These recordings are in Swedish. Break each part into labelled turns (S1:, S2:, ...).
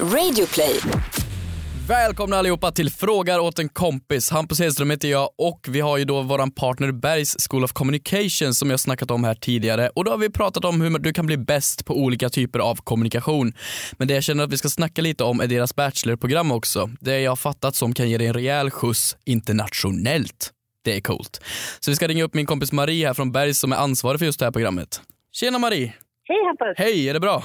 S1: Radioplay.
S2: Välkomna allihopa till Frågar åt en kompis. Hampus Hedström heter jag och vi har ju då våran partner Bergs School of Communication som jag snackat om här tidigare. Och då har vi pratat om hur du kan bli bäst på olika typer av kommunikation. Men det jag känner att vi ska snacka lite om är deras bachelorprogram också. Det jag har fattat som kan ge dig en rejäl skjuts internationellt. Det är coolt. Så vi ska ringa upp min kompis Marie här från Bergs som är ansvarig för just det här programmet. Tjena Marie!
S3: Hej Hampus!
S2: Hej, är det bra?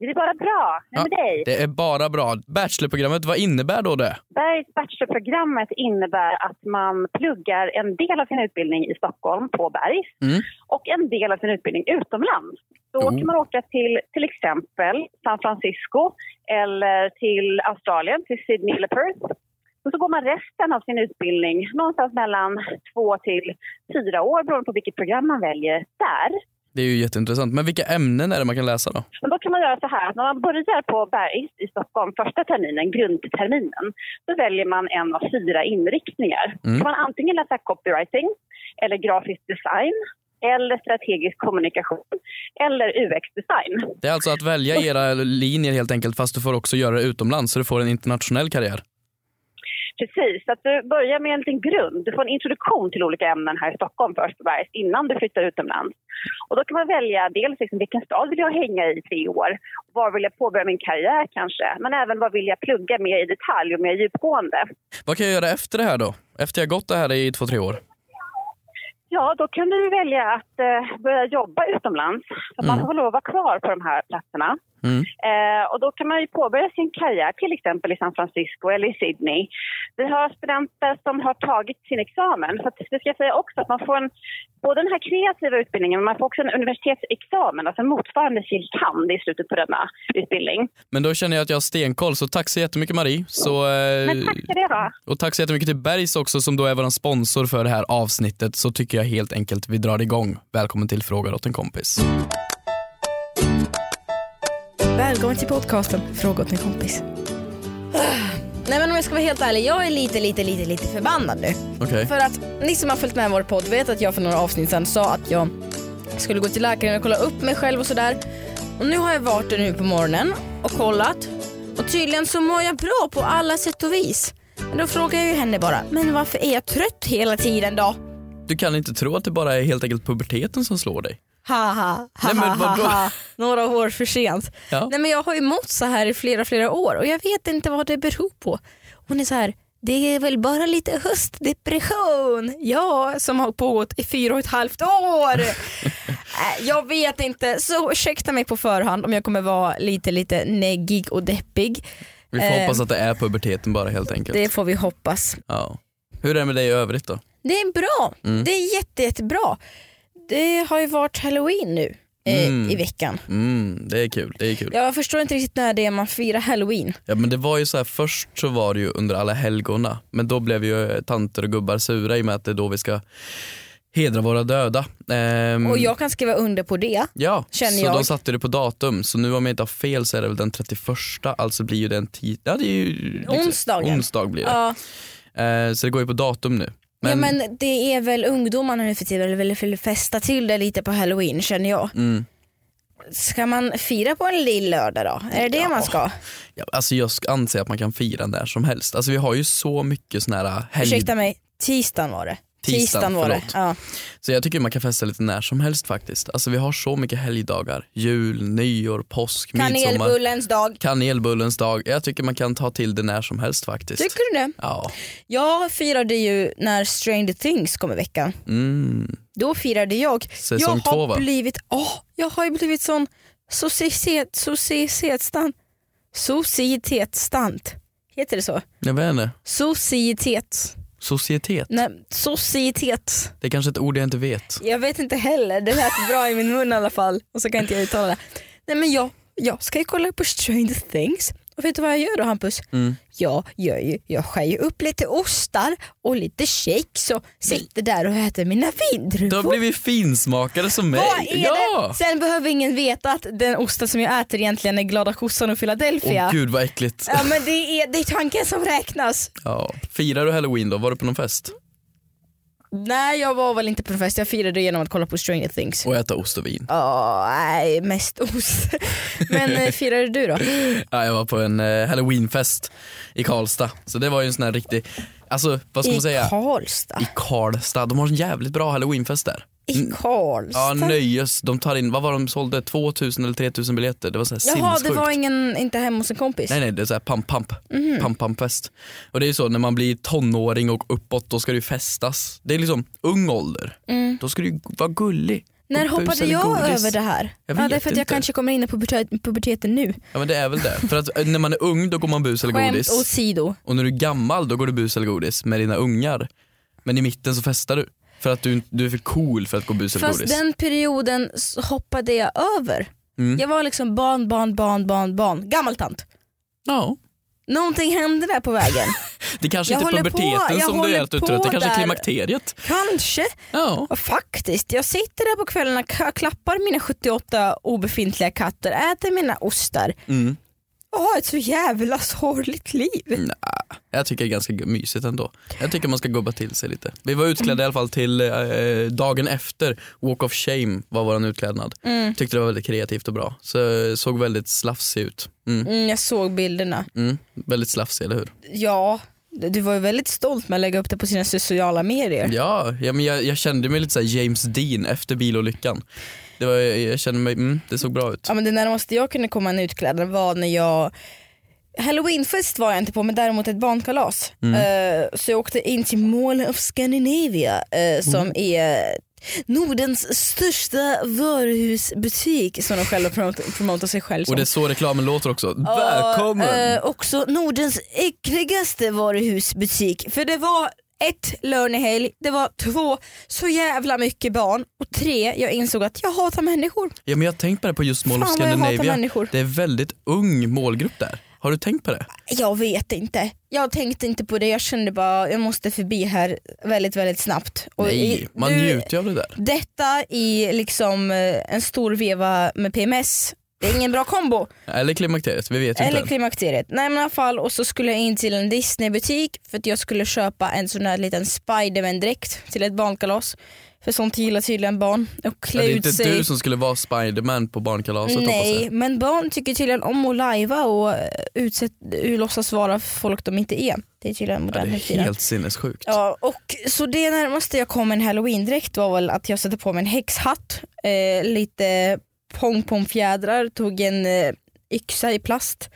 S3: Det är bara bra. Hur är det med dig?
S2: Det är bara bra. Bachelorprogrammet, vad innebär då det?
S3: Bergs bachelorprogrammet innebär att man pluggar en del av sin utbildning i Stockholm på Bergs
S2: Mm.
S3: och en del av sin utbildning utomlands. Då
S2: Oh.
S3: kan man åka till till exempel San Francisco eller till Australien, till Sydney eller Perth. Och så går man resten av sin utbildning någonstans mellan två till fyra år beroende på vilket program man väljer där.
S2: Det är ju jätteintressant. Men vilka ämnen är det man kan läsa då?
S3: Men då kan man göra så här att när man börjar på Bergs i Stockholm första terminen, grundterminen, då väljer man en av fyra inriktningar.
S2: Mm.
S3: Då kan man antingen läsa copywriting, eller grafisk design, eller strategisk kommunikation, eller UX-design.
S2: Det är alltså att välja era linjer helt enkelt fast du får också göra det utomlands så du får en internationell karriär.
S3: Precis, så att du börjar med en liten grund. Du får en introduktion till olika ämnen här i Stockholm först på Bergs innan du flyttar utomlands. Och då kan man välja dels liksom vilken stad vill jag hänga i i tre år? Var vill jag påbörja min karriär kanske? Men även vad vill jag plugga mer i detalj och mer djupgående?
S2: Vad kan jag göra efter det här då? Efter jag gått det här i två, tre år?
S3: Ja, då kan du välja att eh, börja jobba utomlands. För Man
S2: Mm.
S3: får lov att vara kvar på de här platserna.
S2: Mm.
S3: Eh, och då kan man ju påbörja sin karriär till exempel i San Francisco eller i Sydney. Vi har studenter som har tagit sin examen. Så att, det ska jag säga också att man får en, både den här kreativa utbildningen men man får också en universitetsexamen, alltså en motsvarande fil. kand. i slutet på denna utbildning.
S2: Men då känner jag att jag har stenkoll så tack så jättemycket Marie. Så, eh,
S3: Men tack för det då.
S2: och tack så jättemycket till Bergs också som då är vår sponsor för det här avsnittet så tycker jag helt enkelt vi drar igång. Välkommen till Frågar åt en kompis.
S4: Välkommen till podcasten Fråga åt en kompis. Nej men om jag ska vara helt ärlig, jag är lite, lite, lite, lite förbannad nu.
S2: Okej.
S4: För att ni som har följt med vår podd vet att jag för några avsnitt sedan sa att jag skulle gå till läkaren och kolla upp mig själv och sådär. Och nu har jag varit där nu på morgonen och kollat. Och tydligen så mår jag bra på alla sätt och vis. Men då frågar jag ju henne bara, men varför är jag trött hela tiden då?
S2: Du kan inte tro att det bara är helt enkelt puberteten som slår dig?
S4: Ha ha, ha,
S2: Nej, men
S4: ha,
S2: vadå?
S4: ha, ha. Några år för sent.
S2: Ja.
S4: Nej men jag har ju mått så här i flera flera år och jag vet inte vad det beror på. Hon är så här, det är väl bara lite höstdepression. Ja, som har pågått i fyra och ett halvt år. Äh, jag vet inte, så ursäkta mig på förhand om jag kommer vara lite lite neggig och deppig.
S2: Vi får
S4: Eh.
S2: hoppas att det är puberteten bara helt enkelt.
S4: Det får vi hoppas.
S2: Ja. Hur är det med dig i övrigt då?
S4: Det är bra,
S2: Mm.
S4: det är jätte, jättebra. Det har ju varit halloween nu eh,
S2: Mm.
S4: i veckan.
S2: Mm, det är kul, det är kul.
S4: Jag förstår inte riktigt när det är man firar halloween.
S2: Ja men det var ju så här först så var det ju under alla helgona men då blev ju tanter och gubbar sura i och med att det är då vi ska hedra våra döda. Ehm,
S4: Och jag kan skriva under på det.
S2: ja,
S4: känner
S2: så
S4: jag.
S2: de satte det på datum så nu om jag inte har fel så är det väl den 31 alltså blir ju den ti- ja, det är ju liksom,
S4: Onsdagen.
S2: Onsdag blir det.
S4: Ja,
S2: Ehm, så det går ju på datum nu. Men,
S4: ja, men det är väl ungdomarna nu för tiden vill, vill festa till det lite på halloween känner jag.
S2: Mm.
S4: Ska man fira på en lill lördag då? Är det det
S2: Ja.
S4: man ska?
S2: ja, alltså jag sk- anser att man kan fira när som helst. Alltså vi har ju så mycket såna här äh, helg...
S4: Ursäkta mig, tisdagen var det.
S2: Tisdagen,
S4: var det.
S2: förlåt.
S4: Ja.
S2: Så jag tycker man kan festa lite när som helst faktiskt. Alltså vi har så mycket helgdagar. Jul, nyår, påsk, midsommar.
S4: Kanelbullens dag.
S2: Kanelbullens dag. Jag tycker man kan ta till det när som helst faktiskt.
S4: Tycker du det?
S2: Ja.
S4: Jag firade ju när Stranger Things kom i veckan.
S2: Mm.
S4: Då firade jag.
S2: Säsong
S4: jag
S2: två,
S4: har
S2: va?
S4: blivit, åh, jag har ju blivit sån societet, societetstant. Societetstant. Heter det så?
S2: Jag vet inte.
S4: Societet.
S2: Societet.
S4: Nej, societet.
S2: Det är kanske ett ord jag inte vet.
S4: Jag vet inte heller, det lät bra i min mun i alla fall. Och så kan inte jag uttala det. Nej men jag, jag ska ju kolla på Stranger Things. Och vet du vad jag gör då Hampus?
S2: Mm.
S4: Jag, gör ju, jag skär ju upp lite ostar och lite kex och sitter där och äter mina
S2: Du har
S4: vindruvor.
S2: blivit finsmakare som mig.
S4: Vad är
S2: ja!
S4: det? Sen behöver ingen veta att den osten som jag äter egentligen är glada kossan och Philadelphia.
S2: Åh gud vad äckligt.
S4: ja men det är, det är tanken som räknas.
S2: Ja. Firar du halloween då? Var du på någon fest?
S4: Nej jag var väl inte på fest, jag firade genom att kolla på Stranger Things.
S2: Och äta ost och vin.
S4: Ja, nej mest ost. Men eh, firade du då?
S2: Ja, jag var på en eh, halloweenfest i Karlstad. Så det var ju en sån här riktig, alltså vad ska man säga?
S4: I Karlstad?
S2: I Karlstad. De har en jävligt bra halloweenfest där.
S4: I
S2: Ja,
S4: Karlstad?
S2: nöjes. De tar in, vad var de sålde? 2000 eller 3000 biljetter. Det var så här
S4: Jaha det
S2: sinnessjukt.
S4: var ingen, inte hemma hos en kompis?
S2: Nej nej det är såhär pamp pamp,
S4: Mhm.
S2: pamp pamp fest. Och det är ju så när man blir tonåring och uppåt då ska det ju festas. Det är liksom ung ålder, då ska du ju vara gullig.
S4: Mm. När
S2: Och bus
S4: hoppade
S2: eller
S4: jag
S2: godis.
S4: över det här?
S2: Jag
S4: ja,
S2: vet
S4: det är för att jag
S2: inte.
S4: kanske kommer in i pubertet- puberteten nu.
S2: Ja men det är väl det. För att eh, när man är ung då går man bus eller
S4: Skämt
S2: godis.
S4: åsido.
S2: Och när du är gammal då går du bus eller godis med dina ungar. Men i mitten så festar du. För att du, du är för cool för att gå bus eller
S4: Fast
S2: godis.
S4: den perioden s- hoppade jag över.
S2: Mm.
S4: Jag var liksom barn, barn, barn, barn, barn. Gammaltant.
S2: Ja.
S4: Någonting hände där på vägen.
S2: Det kanske
S4: Jag
S2: inte är
S4: håller på,
S2: puberteten
S4: jag
S2: som du
S4: håller
S2: är att du är
S4: på
S2: trött, det kanske är
S4: där.
S2: klimakteriet.
S4: kanske.
S2: Ja.
S4: Ja, Faktiskt, jag sitter där på kvällarna, k- klappar mina 78 obefintliga katter, äter mina ostar
S2: Mm.
S4: och har ett så jävla sorgligt liv.
S2: Jag tycker det är ganska mysigt ändå. Jag tycker man ska gubba till sig lite. Vi var utklädda i alla fall till eh, dagen efter, Walk of Shame var vår utklädnad.
S4: Mm.
S2: Tyckte det var väldigt kreativt och bra. Så, såg väldigt slafsig ut. Mm,
S4: Mm, jag såg bilderna.
S2: mm. Väldigt slafsig, eller hur?
S4: Ja, du du var ju väldigt stolt med att lägga upp det på sina sociala medier.
S2: Ja, ja men jag, jag kände mig lite såhär James Dean efter bilolyckan. Det var, jag kände mig, mm, det såg bra ut.
S4: Ja, men det närmaste jag kunde komma en utklädnad var när jag Halloweenfest var jag inte på men däremot ett barnkalas.
S2: Mm.
S4: Eh, så jag åkte in till Mall of Scandinavia eh, som
S2: Mm.
S4: är Nordens största varuhusbutik som de själva promot- promotar sig själv som.
S2: Och det är så reklamen låter också. Välkommen!
S4: Eh, också Nordens äckligaste varuhusbutik. För det var ett lönehelg, det var två så jävla mycket barn och tre jag insåg att jag hatar människor.
S2: Ja men jag har tänkt på det på just Mall of
S4: Fan, vad jag hatar
S2: Scandinavia.
S4: människor.
S2: Det är väldigt ung målgrupp där. Har du tänkt på det?
S4: Jag vet inte. Jag tänkte inte på det. Jag kände bara jag måste förbi här väldigt väldigt snabbt. Och
S2: Nej,
S4: i-
S2: man
S4: du-
S2: njuter ju av det där.
S4: Detta i liksom eh, en stor veva med PMS. Det är ingen bra kombo.
S2: Eller klimakteriet, vi vet ju Typ
S4: Eller
S2: inte än.
S4: klimakteriet. Nej men i alla fall och så skulle jag in till en Disneybutik för att jag skulle köpa en sån här liten Spiderman dräkt till ett barnkalas. För sånt gillar tydligen barn. Och
S2: Ja,
S4: klä
S2: Det är
S4: ut
S2: inte
S4: sig.
S2: du som skulle vara Spiderman på barnkalaset hoppas
S4: Nej
S2: jag.
S4: men barn tycker tydligen om att lajva och eh, utsätt, låtsas vara folk de inte är. Det är tydligen
S2: Ja,
S4: modern
S2: det
S4: ja,
S2: är helt sinnessjukt.
S4: Ja, och så det närmaste jag kom en halloween-dräkt var väl att jag satte på mig en häxhatt, eh, lite pongpongfjädrar, tog en eh, yxa i plast.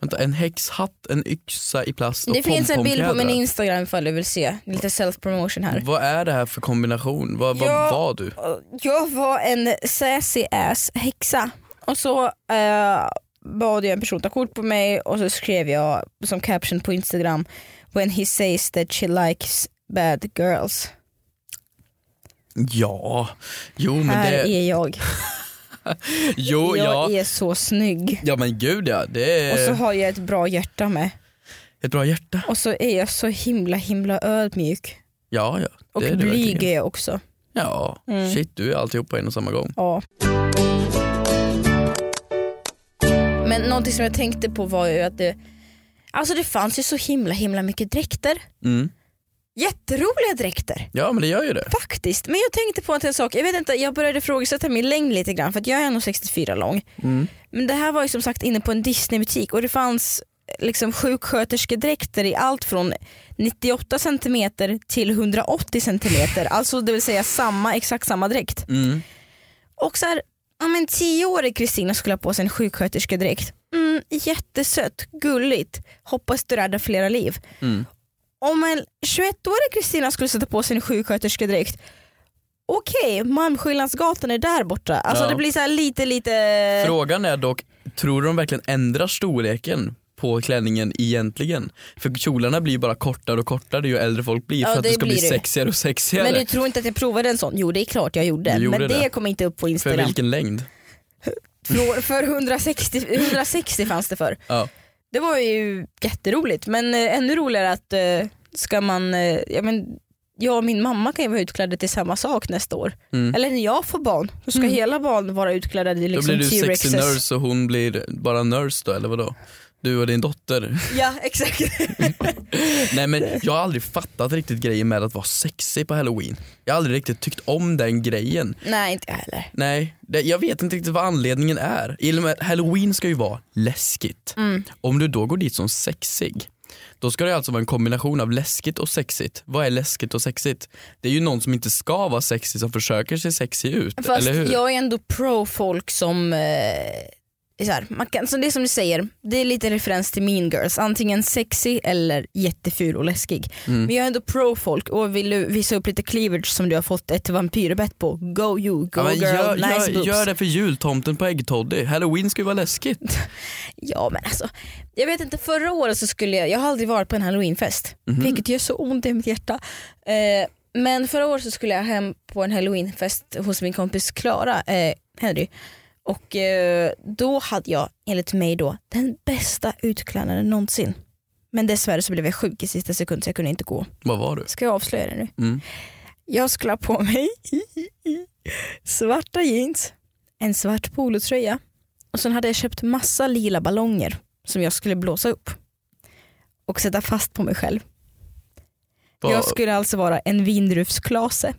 S2: Vänta, en häxhatt, en yxa i plast och
S4: det finns en bild på min
S2: pompomfjädrar.
S4: instagram ifall du vill se, lite self-promotion här.
S2: Vad är det här för kombination? Vad,
S4: Ja.
S2: vad var du?
S4: Jag var en sassy ass häxa och så eh, bad jag en person ta kort på mig och så skrev jag som caption på instagram When he says that she likes bad girls. Ja,
S2: Jo men
S4: här
S2: det,
S4: är jag.
S2: jo ja. Eh.
S4: jag är så snygg.
S2: Ja men gud ja, det
S4: Och så
S2: är
S4: har jag ett bra hjärta med.
S2: ett bra hjärta.
S4: Och så är jag så himla himla ödmjuk.
S2: Ja ja, det
S4: Och
S2: är du
S4: blyg Mm.
S2: verkligen.
S4: är jag också.
S2: Ja, shit du är alltihop på en och samma gång.
S4: Ja. Men någonting som jag tänkte på var ju att det, alltså det fanns ju så himla himla mycket dräkter.
S2: Mm.
S4: Jätteroliga dräkter
S2: Ja men det gör ju det.
S4: faktiskt. Men jag tänkte på en till sak, jag vet inte, jag började ifrågasätta min längd lite grann för att jag är 1,64 lång.
S2: Mm.
S4: Men det här var ju som sagt inne på en Disneybutik och det fanns liksom sjuksköterskedräkter i allt från 98 cm till 180 cm. Alltså det vill säga samma, exakt samma dräkt.
S2: Mm.
S4: Och så här, ja men tioårig Kristina skulle ha på sig en sjuksköterskedräkt. Mm, jättesött, gulligt, hoppas du räddar flera liv.
S2: Mm.
S4: Om en 21-årig Kristina skulle sätta på sig en sjuksköterskedräkt Okej, Malmskillnadsgatan är där borta. Alltså
S2: Ja.
S4: det blir så här lite lite... Eh.
S2: Frågan är dock, tror du de verkligen ändrar storleken på klänningen egentligen? För kjolarna blir ju bara kortare och kortare ju äldre folk blir
S4: Ja,
S2: för att det,
S4: det
S2: ska bli
S4: blir det.
S2: sexigare och sexigare.
S4: Men du tror inte att jag provade en sån? Jo det är klart jag gjorde.
S2: Du gjorde
S4: men det,
S2: det.
S4: kom inte upp på
S2: För
S4: Instagram.
S2: vilken längd?
S4: För, för 160, 160 fanns det för.
S2: Ja.
S4: Det var ju jätteroligt men eh, ännu roligare att eh, ska man, eh, ja, men, jag och min mamma kan ju vara utklädda till samma sak nästa år.
S2: Mm.
S4: Eller när jag får barn, då ska hela barn vara utklädda i
S2: Då
S4: liksom
S2: blir du sexy
S4: T-rexes.
S2: nurse och hon blir bara nurse då eller vadå? Du och din dotter.
S4: Ja, exakt.
S2: Nej men jag har aldrig fattat riktigt grejen med att vara sexig på halloween. Jag har aldrig riktigt tyckt om den grejen.
S4: Nej, inte jag heller.
S2: Nej, det, jag vet inte riktigt vad anledningen är. I och med att Halloween ska ju vara läskigt.
S4: Mm.
S2: Om du då går dit som sexig, då ska det alltså vara en kombination av läskigt och sexigt. Vad är läskigt och sexigt? Det är ju någon som inte ska vara sexig som försöker se sexig ut,
S4: Fast
S2: eller hur?
S4: jag är ändå pro folk som eh, är så här, man kan, så det är som du säger, det är lite referens till mean girls, antingen sexy eller jätteful och läskig.
S2: Mm.
S4: Men jag är ändå pro folk och vill du visa upp lite cleavage som du har fått ett vampyrbett på, go you, go
S2: Ja, men
S4: girl,
S2: gör,
S4: nice
S2: gör,
S4: boobs.
S2: gör det för jultomten på äggtoddy. Halloween ska ju vara läskigt.
S4: Ja men alltså, jag vet inte förra året så skulle jag, jag har aldrig varit på en halloweenfest vilket gör så ont i mitt hjärta. Eh, men förra året så skulle jag hem på en halloweenfest hos min kompis Klara, eh, Henry. Och eh, då hade jag enligt mig då den bästa utklädnaden någonsin. Men dessvärre så blev jag sjuk i sista sekund så jag kunde inte gå.
S2: Vad var du?
S4: Ska jag avslöja det nu?
S2: Mm.
S4: Jag skulle ha på mig svarta jeans, en svart polotröja och sen hade jag köpt massa lila ballonger som jag skulle blåsa upp och sätta fast på mig själv.
S2: Vad-
S4: Jag skulle alltså vara en vindruvsklase.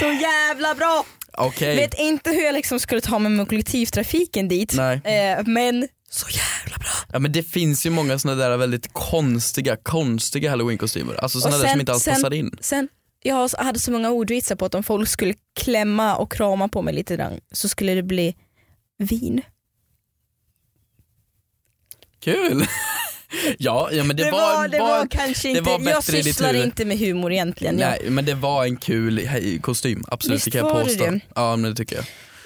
S4: Så jävla bra!
S2: Okej.
S4: Vet inte hur jag liksom skulle ta mig med kollektivtrafiken dit
S2: Nej.
S4: eh, men så jävla bra.
S2: Ja men det finns ju många såna där väldigt konstiga, konstiga halloweenkostymer. Alltså såna
S4: Och
S2: där
S4: sen-
S2: som inte alls
S4: sen-
S2: passar in.
S4: Sen, jag har- hade så många ordvitsar på att om folk skulle klämma och krama på mig lite grann så skulle det bli vin.
S2: Kul! ja, ja men det, var,
S4: det var kanske
S2: det
S4: inte,
S2: var
S4: jag
S2: bättre i ditt
S4: sysslar
S2: huvud.
S4: inte med humor egentligen. Jag,
S2: Nej men det var en kul he- kostym, absolut
S4: Visst
S2: det kan jag
S4: var det
S2: påstå.
S4: det?
S2: Ja men det tycker jag.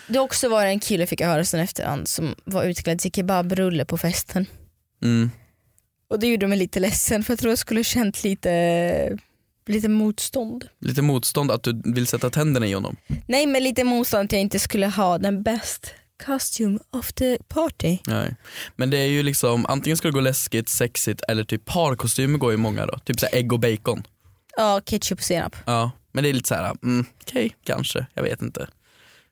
S4: det också var en kille fick jag höra sen efterhand som var utklädd till kebabrulle på festen.
S2: Mm.
S4: Och det gjorde mig lite ledsen för jag tror jag skulle ha känt lite, lite motstånd.
S2: Lite motstånd att du vill sätta tänderna i honom.
S4: Nej men lite motstånd att jag inte skulle ha den bäst costume of the party.
S2: Nej. Men det är ju liksom, antingen ska det gå läskigt, sexigt eller typ parkostymer går ju många då. Typ såhär ägg och bacon.
S4: Ja, ketchup och senap.
S2: Ja, men det är lite såhär, mm, okej, kanske, jag vet inte.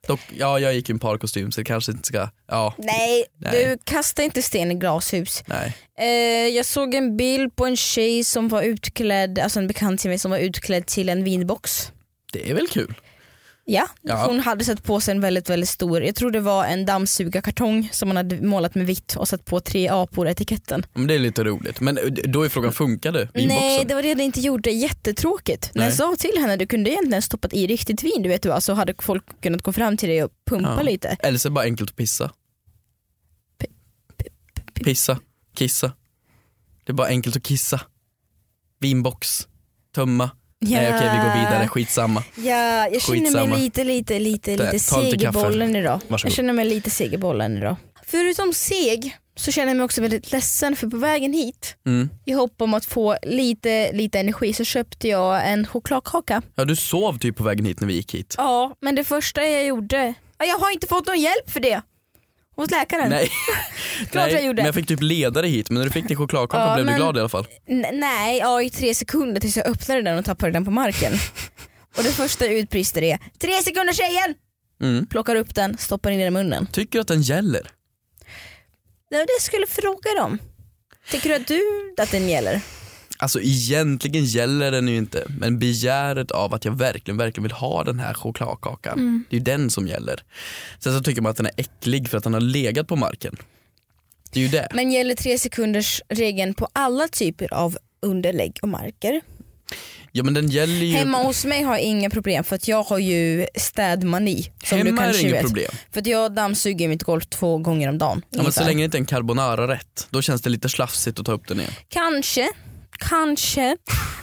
S2: Dock, ja jag gick i en parkostym så det kanske inte ska, ja,
S4: Nej,
S2: Nej.
S4: du kastar inte sten i glashus.
S2: nej.
S4: Eh, jag såg en bild på en tjej som var utklädd, alltså en bekant till mig som var utklädd till en vinbox.
S2: Det är väl kul.
S4: Ja,
S2: Ja.
S4: hon hade satt på sig en väldigt väldigt stor, jag tror det var en dammsugarkartong som hon hade målat med vitt och satt på tre apor i etiketten.
S2: Men det är lite roligt. Men eh, då är frågan, funkar det?
S4: Nej
S2: Vinboxen?
S4: det var det jag inte gjorde, jättetråkigt. När jag
S2: Nej.
S4: sa till henne du kunde egentligen stoppat i riktigt vin du vet du, alltså hade folk kunnat gå fram till dig och pumpa
S2: Ja.
S4: lite.
S2: Eller så är det bara enkelt att pissa.
S4: P-
S2: Pissa, kissa. Det är bara enkelt att kissa. Vinbox, tömma. Nej okej vi går vidare, skitsamma.
S4: Ja, jag känner
S2: Skitsamma.
S4: mig lite, lite, lite,
S2: Där,
S4: lite
S2: ta lite
S4: seg i
S2: kaffe.
S4: bollen idag.
S2: Varsågod.
S4: Jag känner mig lite seg i bollen idag. Förutom seg så känner jag mig också väldigt ledsen för på vägen hit
S2: Mm.
S4: i hopp om att få lite, lite energi så köpte jag en chokladkaka.
S2: Ja du sov typ på vägen hit när vi gick hit.
S4: Ja, men det första jag gjorde, Ja, jag har inte fått någon hjälp för det. Hos läkaren.
S2: Nej.
S4: jag
S2: Nej,
S4: gjorde.
S2: Men jag fick typ ledare hit men när du fick din chokladkaka
S4: Ja,
S2: blev du
S4: men-
S2: glad i alla fall.
S4: N- nej, ja, i tre sekunder tills jag öppnade den och tappade den på marken. och det första jag utbrister är tre sekunder tjejen!
S2: Mm.
S4: Plockar upp den, stoppar in den i munnen.
S2: Tycker du att den gäller?
S4: Det var det jag skulle fråga dem. Tycker du att du att den gäller?
S2: Alltså egentligen gäller den ju inte men begäret av att jag verkligen, verkligen vill ha den här chokladkakan.
S4: Mm.
S2: Det är ju den som gäller. Sen så tycker man att den är äcklig för att den har legat på marken. Det är ju det.
S4: Men gäller tre sekunders regeln på alla typer av underlägg och marker?
S2: Ja men den gäller ju...
S4: Hemma hos mig har jag inga problem för att jag har ju städmani. Som
S2: Hemma
S4: du
S2: är
S4: kanske
S2: det inget
S4: vet.
S2: problem.
S4: För att jag dammsuger mitt golv två gånger om dagen.
S2: Ja, men så
S4: ungefär.
S2: länge det inte är en carbonara rätt, då känns det lite slafsigt att ta upp den igen.
S4: Kanske, kanske.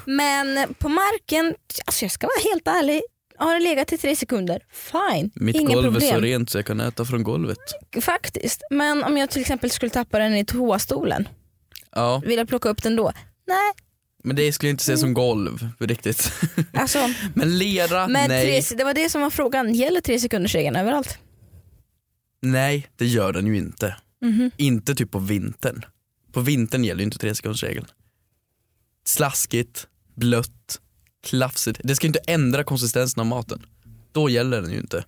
S4: Men på marken, alltså jag ska vara helt ärlig. Har det legat i tre sekunder, fine.
S2: Mitt
S4: Inga
S2: golv är
S4: problem.
S2: så rent så jag kan äta från golvet.
S4: Faktiskt. Men om jag till exempel skulle tappa den i toastolen,
S2: Ja,
S4: vill jag plocka upp den då? Nej,
S2: men det skulle jag
S4: Mm.
S2: inte se som golv riktigt.
S4: alltså.
S2: Men lera,
S4: Men
S2: nej.
S4: tre, det var det som var frågan, gäller tre sekunders regeln överallt?
S2: Nej, det gör den ju inte. Inte typ på vintern. På vintern gäller ju inte tresekundersregeln. Slaskigt, blött, klafsigt. Det ska ju inte ändra konsistensen av maten. Då gäller den ju inte.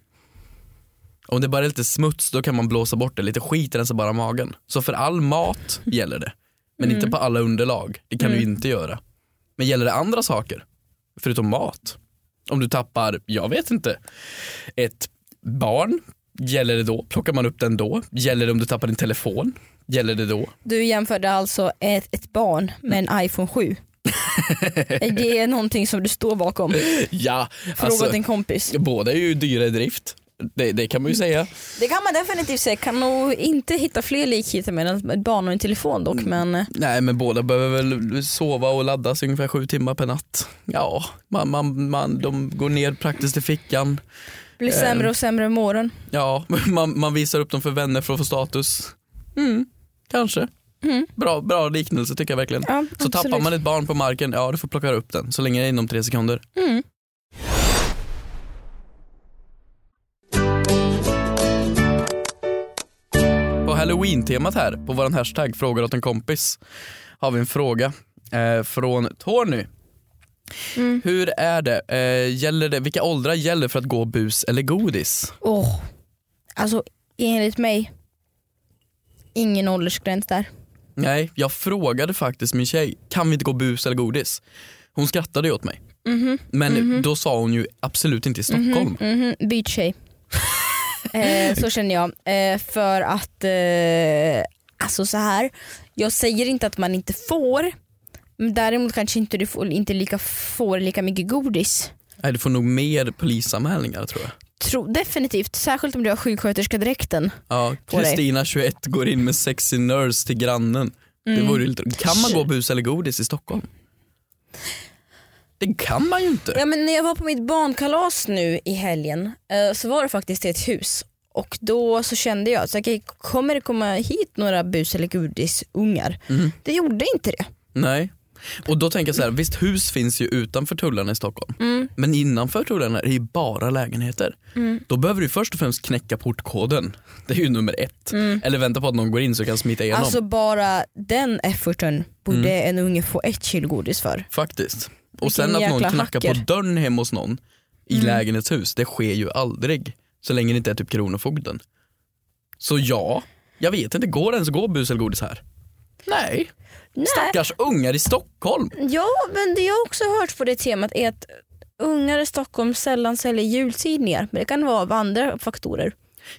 S2: Om det bara är lite smuts då kan man blåsa bort det, lite skit rensar bara magen. Så för all mat gäller det. Men inte på alla underlag, det kan du inte göra. Men gäller det andra saker, förutom mat? Om du tappar, jag vet inte, ett barn, gäller det då? Plockar man upp den då? Gäller det om du tappar din telefon? Gäller det då?
S4: Du jämförde alltså ett, ett barn med en iPhone 7. det är någonting som du står bakom.
S2: Ja, alltså,
S4: Fråga åt en kompis.
S2: båda är ju dyra i drift. Det, det kan man ju säga.
S4: Det kan man definitivt säga. Kan nog inte hitta fler likheter mellan ett barn och en telefon dock. Men eh,
S2: Nej men båda behöver väl sova och laddas ungefär sju timmar per natt. Ja, man, man, man, de går ner praktiskt i fickan.
S4: blir sämre och sämre med åren.
S2: Ja, man, man visar upp dem för vänner för att få status. Mm, kanske. Bra, bra liknelse tycker jag verkligen.
S4: Mm. Ja,
S2: Så
S4: absolut.
S2: tappar man ett barn på marken, ja du får plocka upp den så länge det är inom tre sekunder.
S4: Mm.
S2: På halloween-temat här, på vår hashtag frågar åt en kompis, har vi en fråga eh, från Tony.
S4: Mm.
S2: Hur är det? Eh, gäller det? Vilka åldrar gäller för att gå bus eller godis?
S4: Åh, Alltså enligt mig, ingen åldersgräns där.
S2: Nej, jag frågade faktiskt min tjej, kan vi inte gå bus eller godis? Hon skrattade ju åt mig. Men då sa hon ju absolut inte i Stockholm.
S4: Mhm, byt tjej. eh, så känner jag. Eh, för att, eh, alltså så här. Jag säger inte att man inte får. Men däremot kanske inte du får, inte lika, får lika mycket godis.
S2: Nej, du får nog mer polisanmälningar tror jag.
S4: Tro, definitivt, särskilt om du har sjuksköterskadräkten.
S2: Ja,
S4: På dig.
S2: Kristina 21 går in med sexy nurse till grannen.
S4: Mm.
S2: Det vore ju lite... Kan man gå bus eller godis i Stockholm? Det kan man ju inte.
S4: Ja, men när jag var på mitt barnkalas nu i helgen eh, så var det faktiskt i ett hus och då så kände jag att okay, kommer det komma hit några bus eller godisungar? Det gjorde inte det.
S2: Nej. Och då tänker jag så här, visst hus finns ju utanför tullarna i Stockholm.
S4: Mm.
S2: Men innanför tullarna är det ju bara lägenheter. Då behöver du först och främst knäcka portkoden. Det är ju nummer ett. Eller vänta på att någon går in så du kan smita igenom.
S4: Mm. Alltså bara den efforten borde
S2: Mm.
S4: en unge få ett kilo godis för.
S2: Faktiskt. Och
S4: Vilken
S2: sen att någon
S4: jäkla
S2: knackar på
S4: hacker. Mm.
S2: dörren hemma hos någon i lägenhetshus, det sker ju aldrig. Så länge det inte är typ Kronofogden. Så ja, jag vet inte, går det ens att gå bus eller godis här? Nej. Stackars ungar i Stockholm.
S4: Ja men det jag också hört på det temat är att ungar i Stockholm sällan säljer jultidningar men det kan vara av andra faktorer.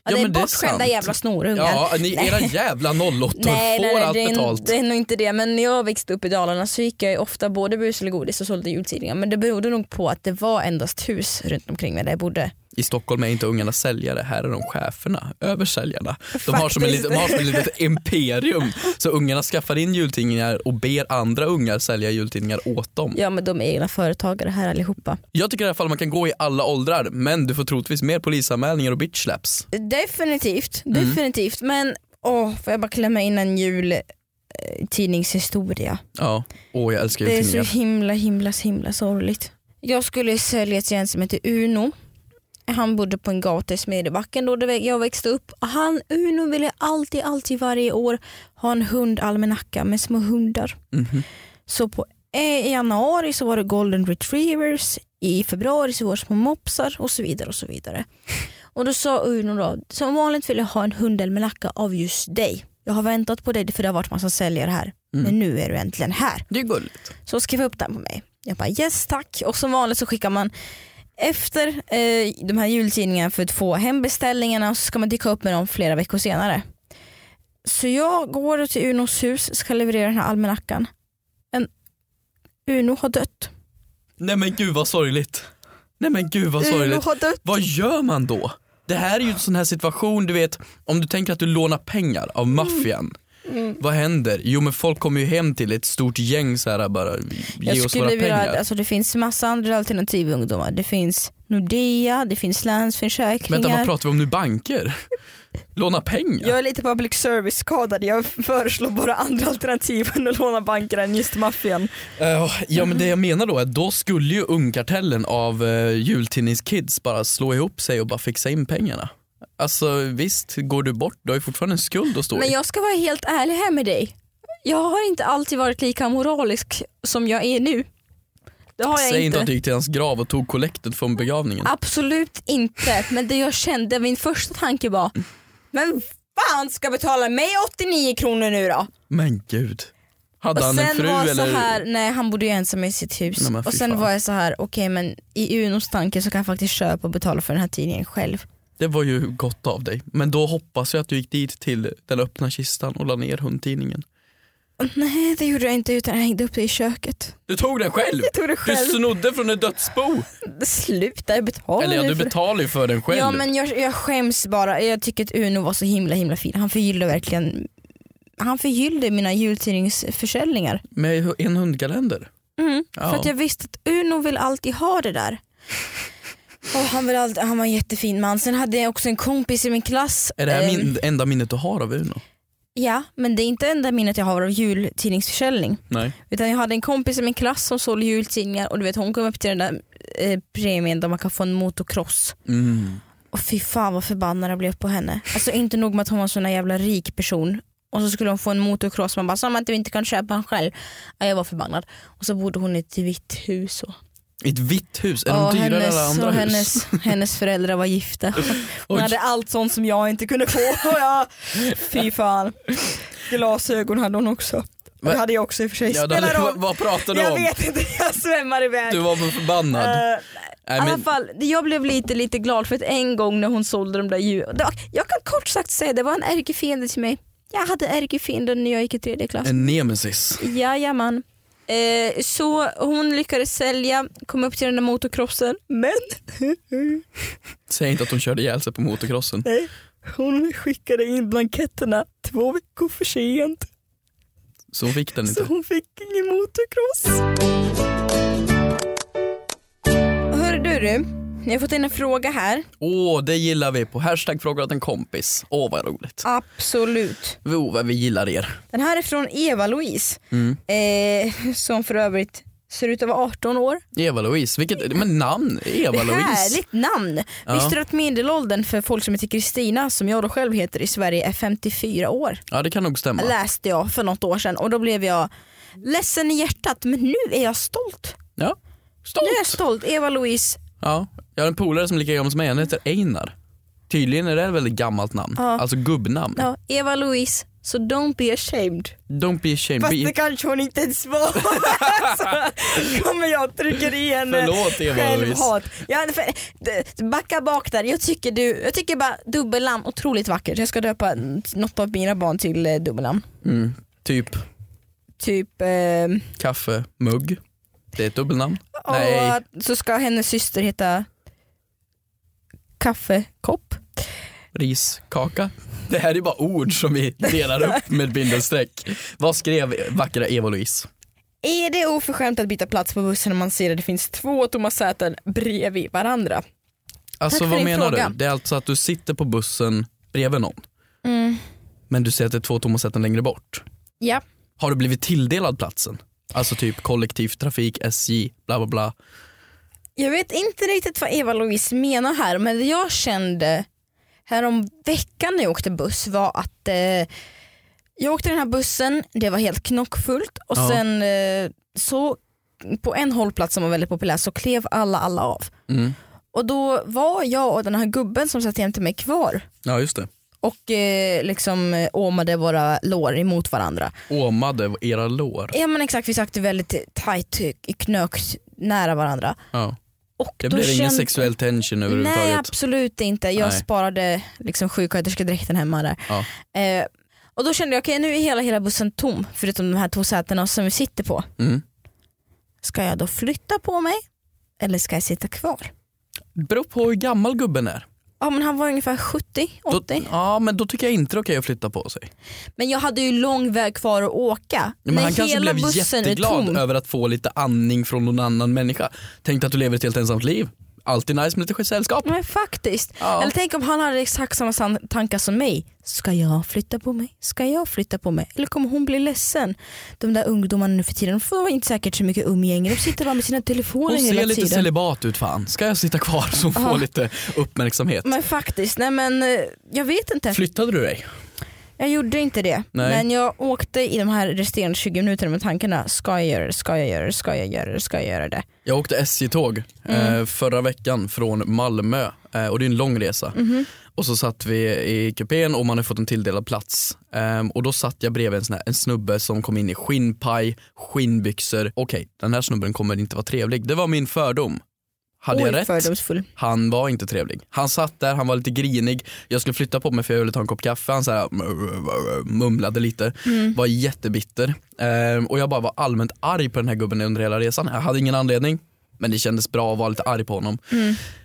S4: Ja, det är
S2: men det är
S4: bortskämda
S2: sant.
S4: jävla snorungar.
S2: Ja, ni, era jävla 08 får
S4: Nej, nej, nej
S2: allt
S4: det, är,
S2: betalt.
S4: det är nog inte det. Men när jag växte upp i Dalarna så gick jag ju ofta både bus eller godis och sålde jultidningar. Men det berodde nog på att det var endast hus runt omkring mig där jag bodde.
S2: I Stockholm är inte ungarna säljare, här är de cheferna, översäljarna. De har, som en liten,
S4: Faktiskt.
S2: de har som ett litet imperium. Så ungarna skaffar in jultidningar och ber andra ungar sälja jultidningar åt dem.
S4: Ja men de är egna företagare här allihopa.
S2: Jag tycker i alla fall man kan gå i alla åldrar men du får troligtvis mer polisanmälningar och bitch slaps.
S4: Definitivt, definitivt. Men åh, får jag bara klämma in en jultidningshistoria.
S2: Ja, åh jag älskar
S4: Det är så
S2: jultidningar.
S4: himla himla så himla sorgligt. Jag skulle sälja till en som heter Uno. Han bodde på en gata i Smedjebacken då där jag växte upp. Och Han, Uno ville alltid, alltid varje år ha en hundalmanacka med små hundar.
S2: Mhm.
S4: Så på, eh, i januari så var det golden retrievers, i februari så var det små mopsar och så vidare och så vidare. Och då sa Uno då, som vanligt vill jag ha en hundalmanacka av just dig. Jag har väntat på dig för det har varit massa säljare här. Men nu är du äntligen här.
S2: Det är gulligt.
S4: Så skrev jag upp den på mig. Jag bara yes tack och som vanligt så skickar man efter eh, de här jultidningarna för att få hem beställningarna och så ska man dyka upp med dem flera veckor senare. Så jag går till Unos hus ska leverera den här almanackan. En Uno har dött.
S2: Nej men gud vad sorgligt. Nej men gud vad
S4: Uno
S2: sorgligt.
S4: har dött.
S2: Vad gör man då? Det här är ju en sån här situation, du vet om du tänker att du lånar pengar av
S4: Mm.
S2: maffian. Vad händer? Jo men folk kommer ju hem till ett stort gäng så här bara, ge
S4: Jag
S2: oss våra
S4: skulle vilja,
S2: pengar.
S4: alltså det finns massa andra alternativ ungdomar. Det finns Nordea, det finns
S2: Vänta vad
S4: Länsförsäkringar.
S2: pratar vi om nu? Banker? Låna pengar?
S4: Jag är lite public service skadad. Jag föreslår bara andra alternativ än att låna banker än just maffian.
S2: Eh, ja men det jag menar då är att då skulle ju ungkartellen av uh, jultidningskids bara slå ihop sig och bara fixa in pengarna. Alltså visst, går du bort, du har ju fortfarande en skuld att stå
S4: Men
S2: i.
S4: jag ska vara helt ärlig här med dig. Jag har inte alltid varit lika moralisk som jag är nu. Det har jag
S2: Säg inte
S4: inte.
S2: att du gick till hans grav och tog kollektet från begravningen.
S4: Absolut inte. Men det jag kände, min första tanke var, men fan ska betala mig 89 kronor nu då?
S2: Men gud. Hade
S4: Och
S2: han en
S4: sen
S2: fru
S4: var jag
S2: eller?
S4: så här, nej han bodde ju ensam i sitt hus.
S2: Nej, men fy
S4: och sen
S2: fan.
S4: var jag så här, okej men i Unos tanke så kan jag faktiskt köpa och betala för den här tidningen själv.
S2: Det var ju gott av dig. Men då hoppas jag att du gick dit till den öppna kistan och la ner hundtidningen.
S4: Och nej det gjorde jag inte utan jag hängde upp det i köket.
S2: Du tog den själv!
S4: Jag tog det
S2: Du
S4: själv.
S2: snodde från ett dödsbo!
S4: Sluta jag betalar
S2: Eller ja,
S4: ju
S2: du
S4: för det.
S2: betalar ju för den själv.
S4: Ja men jag, jag skäms bara, jag tycker att Uno var så himla himla fin. Han förgyllde verkligen, han förgyllde mina jultidningsförsäljningar.
S2: Med hu- en hundkalender.
S4: Mm,
S2: Ja.
S4: För att jag visste att Uno vill alltid ha det där. Och han, vill alltid, han var en jättefin man. Sen hade jag också en kompis i min klass.
S2: Är det här
S4: Ehm,
S2: min, enda minnet du har av Uno?
S4: Ja, men det är inte enda minnet jag har av jultidningsförsäljning.
S2: Nej.
S4: Utan jag hade en kompis i min klass som sålde jultidningar och du vet hon kom upp till den där eh, premien där man kan få en motocross.
S2: Mm.
S4: Och fy fan vad förbannad jag blev på henne. Alltså inte nog med att hon var en sån där jävla rik person och så skulle hon få en motocross, man bara sa man att du inte kan köpa en själv. Ja, jag var förbannad. Och så bodde hon i ett vitt hus. Och...
S2: I Ett vitt hus, är
S4: Ja,
S2: de dyrare än alla andra
S4: och
S2: hus?
S4: hennes, hennes föräldrar var gifta. Hon
S2: Oj.
S4: hade allt sånt som jag inte kunde få. Och jag, fy fan. Glasögon hade hon också.
S2: Va?
S4: Det hade jag också i och för sig.
S2: Ja,
S4: Spelar
S2: det, vad,
S4: roll.
S2: vad pratar du
S4: Jag
S2: om?
S4: vet inte, jag svämmar iväg.
S2: Du var väl förbannad?
S4: Eh,
S2: Nej,
S4: i alla
S2: men,
S4: fall, jag blev lite, lite glad för att en gång när hon sålde de där djuren. Jag kan kort sagt säga det var en ärkefiende till mig. Jag hade ärkefiende när jag gick i tredje klass.
S2: en nemesis.
S4: Jajamän. Eh, så hon lyckades sälja, kom upp till den där motocrossen men
S2: Säg inte att hon körde ihjäl sig på motocrossen.
S4: nej, hon skickade in blanketterna två veckor för sent
S2: Så hon fick den
S4: så
S2: inte.
S4: hon fick ingen motocross. Hörru du, du, jag har fått in en fråga här.
S2: Åh, det gillar vi på hashtag frågar åt en kompis. Åh vad roligt.
S4: Absolut.
S2: Oh, vad vi gillar er.
S4: Den här är från Eva-Louise,
S2: Mm.
S4: eh, som för övrigt ser ut att vara 18 år.
S2: Eva-Louise, vilket men namn. Eva-Louise.
S4: Härligt namn!
S2: Ja.
S4: Visste du att medelåldern för folk som heter Kristina, som jag då själv heter i Sverige, är 54 år?
S2: Ja det kan nog stämma.
S4: Läste jag för något år sedan och då blev jag ledsen i hjärtat men nu är jag stolt.
S2: Ja.
S4: Nu är jag
S2: Stolt.
S4: stolt, Eva-Louise.
S2: Ja. Jag har en polare som är lika gammal som mig, han heter Einar. Tydligen är det ett väldigt gammalt namn,
S4: Ja.
S2: alltså gubbnamn.
S4: Ja, Eva-Louise, so don't be ashamed.
S2: Don't be ashamed.
S4: Fast
S2: Be...
S4: det kanske hon inte ens var. Så kommer jag och trycker i henne.
S2: Förlåt Eva-Louise.
S4: Självhat. Ja, för, d- backa bak där. Jag tycker, du, jag tycker bara dubbelnamn, otroligt vackert. Jag ska döpa n- något av mina barn till eh, dubbelnamn.
S2: Mm. Typ
S4: Typ, eh,
S2: kaffe, mugg. Det är ett dubbelnamn. Nej.
S4: och så ska hennes syster heta kaffekopp.
S2: Riskaka. Det här är bara ord som vi delar upp med bindestreck. Vad skrev vackra Eva-Louise?
S4: Är det oförskämt att byta plats på bussen när man ser att det finns två tomma säten bredvid varandra?
S2: Alltså
S4: Tack för
S2: vad
S4: din
S2: menar
S4: fråga.
S2: du? Det är alltså att du sitter på bussen bredvid någon
S4: Mm.
S2: men du ser att det är två tomma sätten längre bort.
S4: Ja.
S2: Har du blivit tilldelad platsen? Alltså typ kollektivtrafik, SJ, bla bla bla.
S4: Jag vet inte riktigt vad Eva-Louise menar här men det jag kände härom veckan när jag åkte buss var att eh, jag åkte den här bussen, det var helt knockfullt och
S2: Ja.
S4: sen eh, så på en hållplats som var väldigt populär så klev alla alla av.
S2: Mm.
S4: Och då var jag och den här gubben som satt jämte mig kvar
S2: Ja just det.
S4: och eh, liksom eh, åmade våra lår emot varandra.
S2: Åmade era lår.
S4: Ja men exakt, vi satt väldigt tajt, knökt nära varandra.
S2: Ja.
S4: Och
S2: Det
S4: då
S2: blev ingen
S4: kände-
S2: sexuell tension
S4: Nej
S2: överhuvudtaget.
S4: absolut inte. Jag
S2: Nej.
S4: sparade liksom sjuksköterskedräkten hemma där.
S2: Ja.
S4: Eh, och då kände jag, okej nu är hela, hela bussen tom förutom de här två sätena som vi sitter på.
S2: Mm.
S4: Ska jag då flytta på mig eller ska jag sitta kvar?
S2: Beror på hur gammal gubben är.
S4: Ja men han var ungefär 70, 80.
S2: Då, ja men då tycker jag inte det är okej att flytta på sig.
S4: Men jag hade ju lång väg kvar att åka.
S2: Ja, men
S4: När
S2: han kanske
S4: hela
S2: blev
S4: bussen är
S2: jätteglad
S4: tom.
S2: över att få lite andning från någon annan människa. Tänkte att du lever ett helt ensamt liv. Alltid nice med lite sällskap.
S4: Men faktiskt.
S2: Ja.
S4: Eller tänk om han hade exakt samma san- tankar som mig. Ska jag flytta på mig? Ska jag flytta på mig? Eller kommer hon bli ledsen? De där ungdomarna nu för tiden, de får inte säkert så mycket umgänge. De sitter bara med sina telefoner
S2: Hon ser
S4: hela
S2: lite
S4: tiden.
S2: celibat ut fan. Ska jag sitta kvar som får
S4: Ja. Mm.
S2: lite uppmärksamhet?
S4: men faktiskt, nej men eh, jag vet inte.
S2: Flyttade du dig?
S4: Jag gjorde inte det.
S2: Nej.
S4: Men jag åkte i de här resterande 20 minuterna med tankarna, ska jag göra det, ska jag göra det, ska jag göra det, ska jag göra det.
S2: Jag åkte SJ-tåg eh,
S4: Mm.
S2: förra veckan från Malmö eh, och det är en lång resa.
S4: Mhm.
S2: Och så satt vi i kupén och man hade fått en tilldelad plats. Ehm, och då satt jag bredvid en, sån här, en snubbe som kom in i skinnpaj, skinnbyxor. Okej, den här snubben kommer inte vara trevlig. Det var min fördom. Hade
S4: Oj,
S2: jag rätt?
S4: fördomsfull.
S2: Han var inte trevlig. Han satt där, han var lite grinig. Jag skulle flytta på mig för jag ville ta en kopp kaffe. Han så här, mumlade lite. Var jättebitter. Ehm, och jag bara var allmänt arg på den här gubben under hela resan. Jag hade ingen anledning. Men det kändes bra att vara lite arg på honom.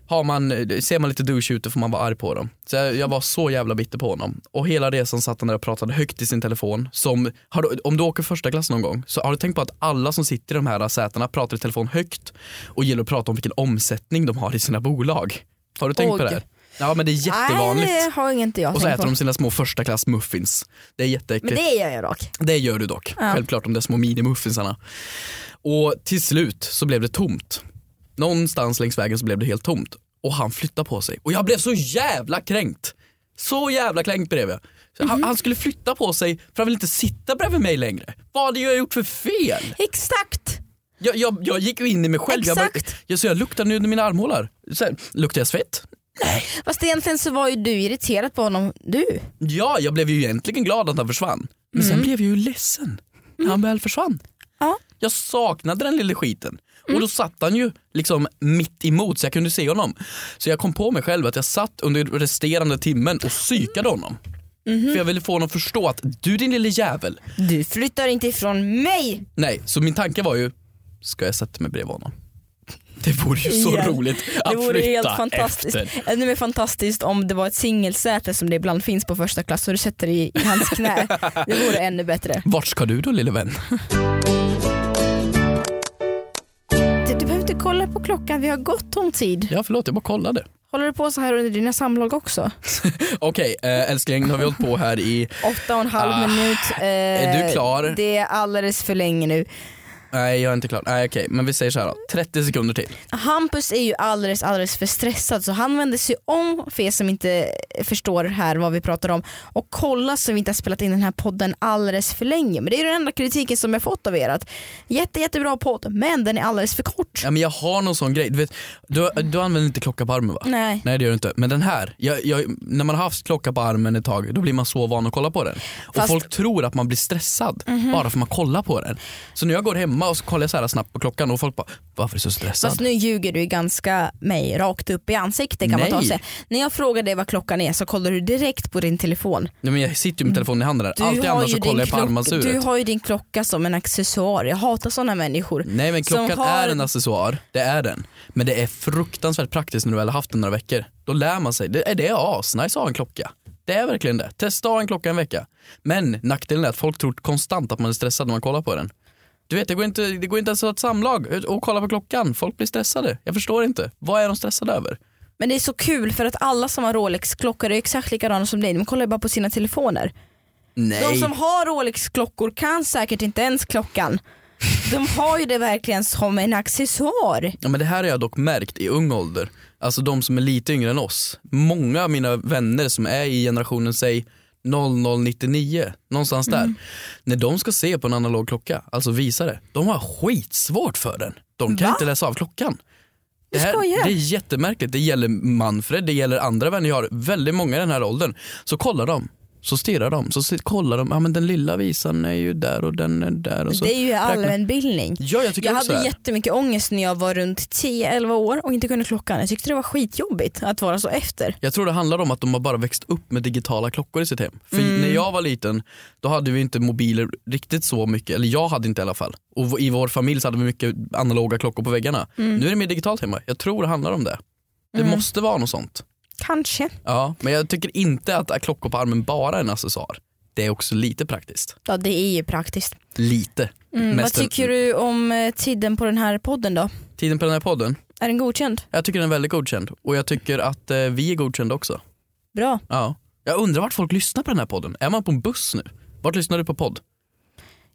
S2: Har man, Eh, ser man lite douche ute får man vara arg på dem. Så jag, jag var så jävla bitter på honom. Och hela resan satt han där och pratade högt i sin telefon. Som, har du, om du åker första klass någon gång, så har du tänkt på att alla som sitter i de här sätena pratar i telefon högt och gillar att prata om vilken omsättning de har i sina bolag. Har du tänkt på
S4: Oj.
S2: det? här? Ja men det är jättevanligt.
S4: Nej det har inte jag
S2: och så
S4: tänkt
S2: äter
S4: på.
S2: de sina små första klass muffins. Det är jätteäckligt.
S4: Men det gör jag dock.
S2: Det gör du dock. Självklart de där små minimuffinsarna. Och till slut så blev det tomt. Någonstans längs vägen så blev det helt tomt. Och han flyttade på sig. Och jag blev så jävla kränkt. Så jävla kränkt blev jag. Så han, han skulle flytta på sig för han ville inte sitta bredvid mig längre. Vad hade jag gjort för fel?
S4: Exakt!
S2: Jag, jag, jag gick ju in i mig själv. Jag,
S4: Exakt.
S2: jag, så jag luktade nu under mina armhålor. Så här, luktar jag svett?
S4: Fast egentligen så var ju du irriterad på honom. Du.
S2: Ja, jag blev ju egentligen glad att han försvann. Men sen blev jag ju ledsen när han väl försvann.
S4: Mm. Ja. Mm.
S2: Jag saknade den lilla skiten. Och då satt han ju liksom mitt emot så jag kunde se honom. Så jag kom på mig själv att jag satt under resterande timmen och psykade
S4: Mm.
S2: honom.
S4: Mm-hmm.
S2: För jag ville få honom att förstå att du din lille jävel.
S4: Du flyttar inte ifrån mig!
S2: Nej, så min tanke var ju, ska jag sätta mig bredvid honom? Det vore ju så
S4: Igen.
S2: roligt att
S4: Det vore
S2: flytta
S4: helt fantastiskt.
S2: efter.
S4: Ännu mer fantastiskt om det var ett singelsäte som det ibland finns på första klass och du sätter dig i hans knä. Det vore ännu bättre.
S2: Vart ska du då lille vän?
S4: Du, du behöver inte kolla på klockan, vi har gott om tid.
S2: Ja förlåt, jag bara kollade.
S4: Håller du på så här under dina samlag också?
S2: Okej eh, älskling, nu har vi hållit på här i
S4: Åtta och en halv
S2: Ah,
S4: minut. Eh,
S2: är du klar?
S4: Det är alldeles för länge nu.
S2: Nej jag är inte klar. Nej okej, men vi säger så här då. 30 sekunder till.
S4: Hampus är ju alldeles, alldeles för stressad så han vänder sig om, för er som inte förstår här vad vi pratar om, och kollar så vi inte har spelat in den här podden alldeles för länge. Men det är ju den enda kritiken som jag fått av er att jätte, jättebra podd men den är alldeles för kort.
S2: Ja, men jag har någon sån grej. Du, vet, du, du använder inte klocka på armen va?
S4: Nej.
S2: Nej det gör du inte. Men den här, jag, jag, när man har haft klocka på armen ett tag då blir man så van att kolla på den. Och
S4: Fast- Mhm.
S2: folk tror att man blir stressad bara för man kollar på den. Så när jag går hemma och så kollar jag så här snabbt på klockan och folk bara, varför är du så stressad?
S4: Fast nu ljuger du ganska mig rakt upp i ansiktet kan man ta
S2: Nej.
S4: sig. När jag frågar dig vad klockan är så kollar du direkt på din telefon.
S2: Nej, men jag sitter ju med telefonen i handen där.
S4: Mm. Du
S2: Alltid
S4: har
S2: annars
S4: ju
S2: så kollar
S4: din
S2: jag på
S4: klock-
S2: armbandssuret.
S4: Du har ju din klocka som en accessoar, jag hatar sådana människor.
S2: Nej men
S4: som
S2: klockan
S4: har-
S2: är en accessoar, det är den. Men det är fruktansvärt praktiskt när du väl har haft den några veckor. Då lär man sig. Det är, det är asnice att ha en klocka. Det är verkligen det. Testa att ha en klocka en vecka. Men nackdelen är att folk tror konstant att man är stressad när man kollar på den. Du vet, det går inte, det går inte ens att ha ett samlag och kolla på klockan. Folk blir stressade. Jag förstår inte. Vad är de stressade över?
S4: Men det är så kul för att alla som har Rolex-klockor är exakt likadana som dig, de kollar ju bara på sina telefoner.
S2: Nej.
S4: De som har Rolex-klockor kan säkert inte ens klockan. De har ju det verkligen som en accessoar.
S2: Ja, men det här har jag dock märkt i ung ålder. Alltså de som är lite yngre än oss. Många av mina vänner som är i generationen, säg 0099, någonstans
S4: Mm.
S2: där. När de ska se på en analog klocka, alltså visare, de har skitsvårt för den. De kan
S4: Va?
S2: inte läsa av klockan. Det,
S4: skojar.
S2: här, det är jättemärkligt. Det gäller Manfred, det gäller andra vänner jag har. Väldigt många i den här åldern. Så kollar de, så stirrar de, så sit- kollar de. Ja men den lilla visan är ju där och den är där. Och så.
S4: Det är ju
S2: räknar-
S4: allmänbildning.
S2: Ja jag tycker
S4: Jag
S2: också
S4: hade
S2: det.
S4: jättemycket ångest när jag var runt 10-11 år och inte kunde klockan. Jag tyckte det var skitjobbigt att vara så efter.
S2: Jag tror det handlar om att de har bara växt upp med digitala klockor i sitt hem. För
S4: Mm.
S2: när jag var liten, då hade vi inte mobiler riktigt så mycket, eller jag hade inte i alla fall. Och v- i vår familj så hade vi mycket analoga klockor på väggarna.
S4: Mm.
S2: Nu är det mer digitalt hemma. Jag tror det handlar om det. Det måste vara något sånt.
S4: Kanske.
S2: Ja, men jag tycker inte att att klockor på armen bara är en accessoar. Det är också lite praktiskt.
S4: Ja det är ju praktiskt.
S2: Lite.
S4: Mm. Vad
S2: Mest en-
S4: tycker du om eh, tiden på den här podden då?
S2: Tiden på den här podden,
S4: Är den godkänd?
S2: jag tycker den är väldigt godkänd. Och jag tycker att eh, vi är godkända också.
S4: Bra.
S2: Ja. Jag undrar vart folk lyssnar på den här podden. Är man på en buss nu? Vart lyssnar du på podd?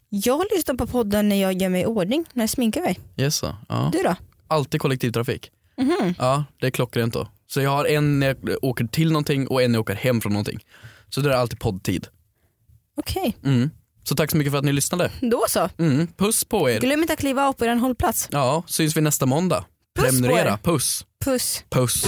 S4: Jag lyssnar på podden när jag gör mig i ordning, när jag sminkar mig.
S2: Yes, sir. ja.
S4: Du då?
S2: Alltid kollektivtrafik.
S4: Mhm.
S2: Ja, det är klockrent då. Så jag har en när jag åker till någonting och en när jag åker hem från någonting. Så det är alltid poddtid.
S4: Okej,
S2: Mm. Så tack så mycket för att ni lyssnade.
S4: då så.
S2: Mm. Puss på er.
S4: Glöm inte att kliva av på er hållplats.
S2: Ja, syns vi nästa måndag.
S4: Puss på er.
S2: Prenumerera. Puss.
S4: Puss.
S2: Puss.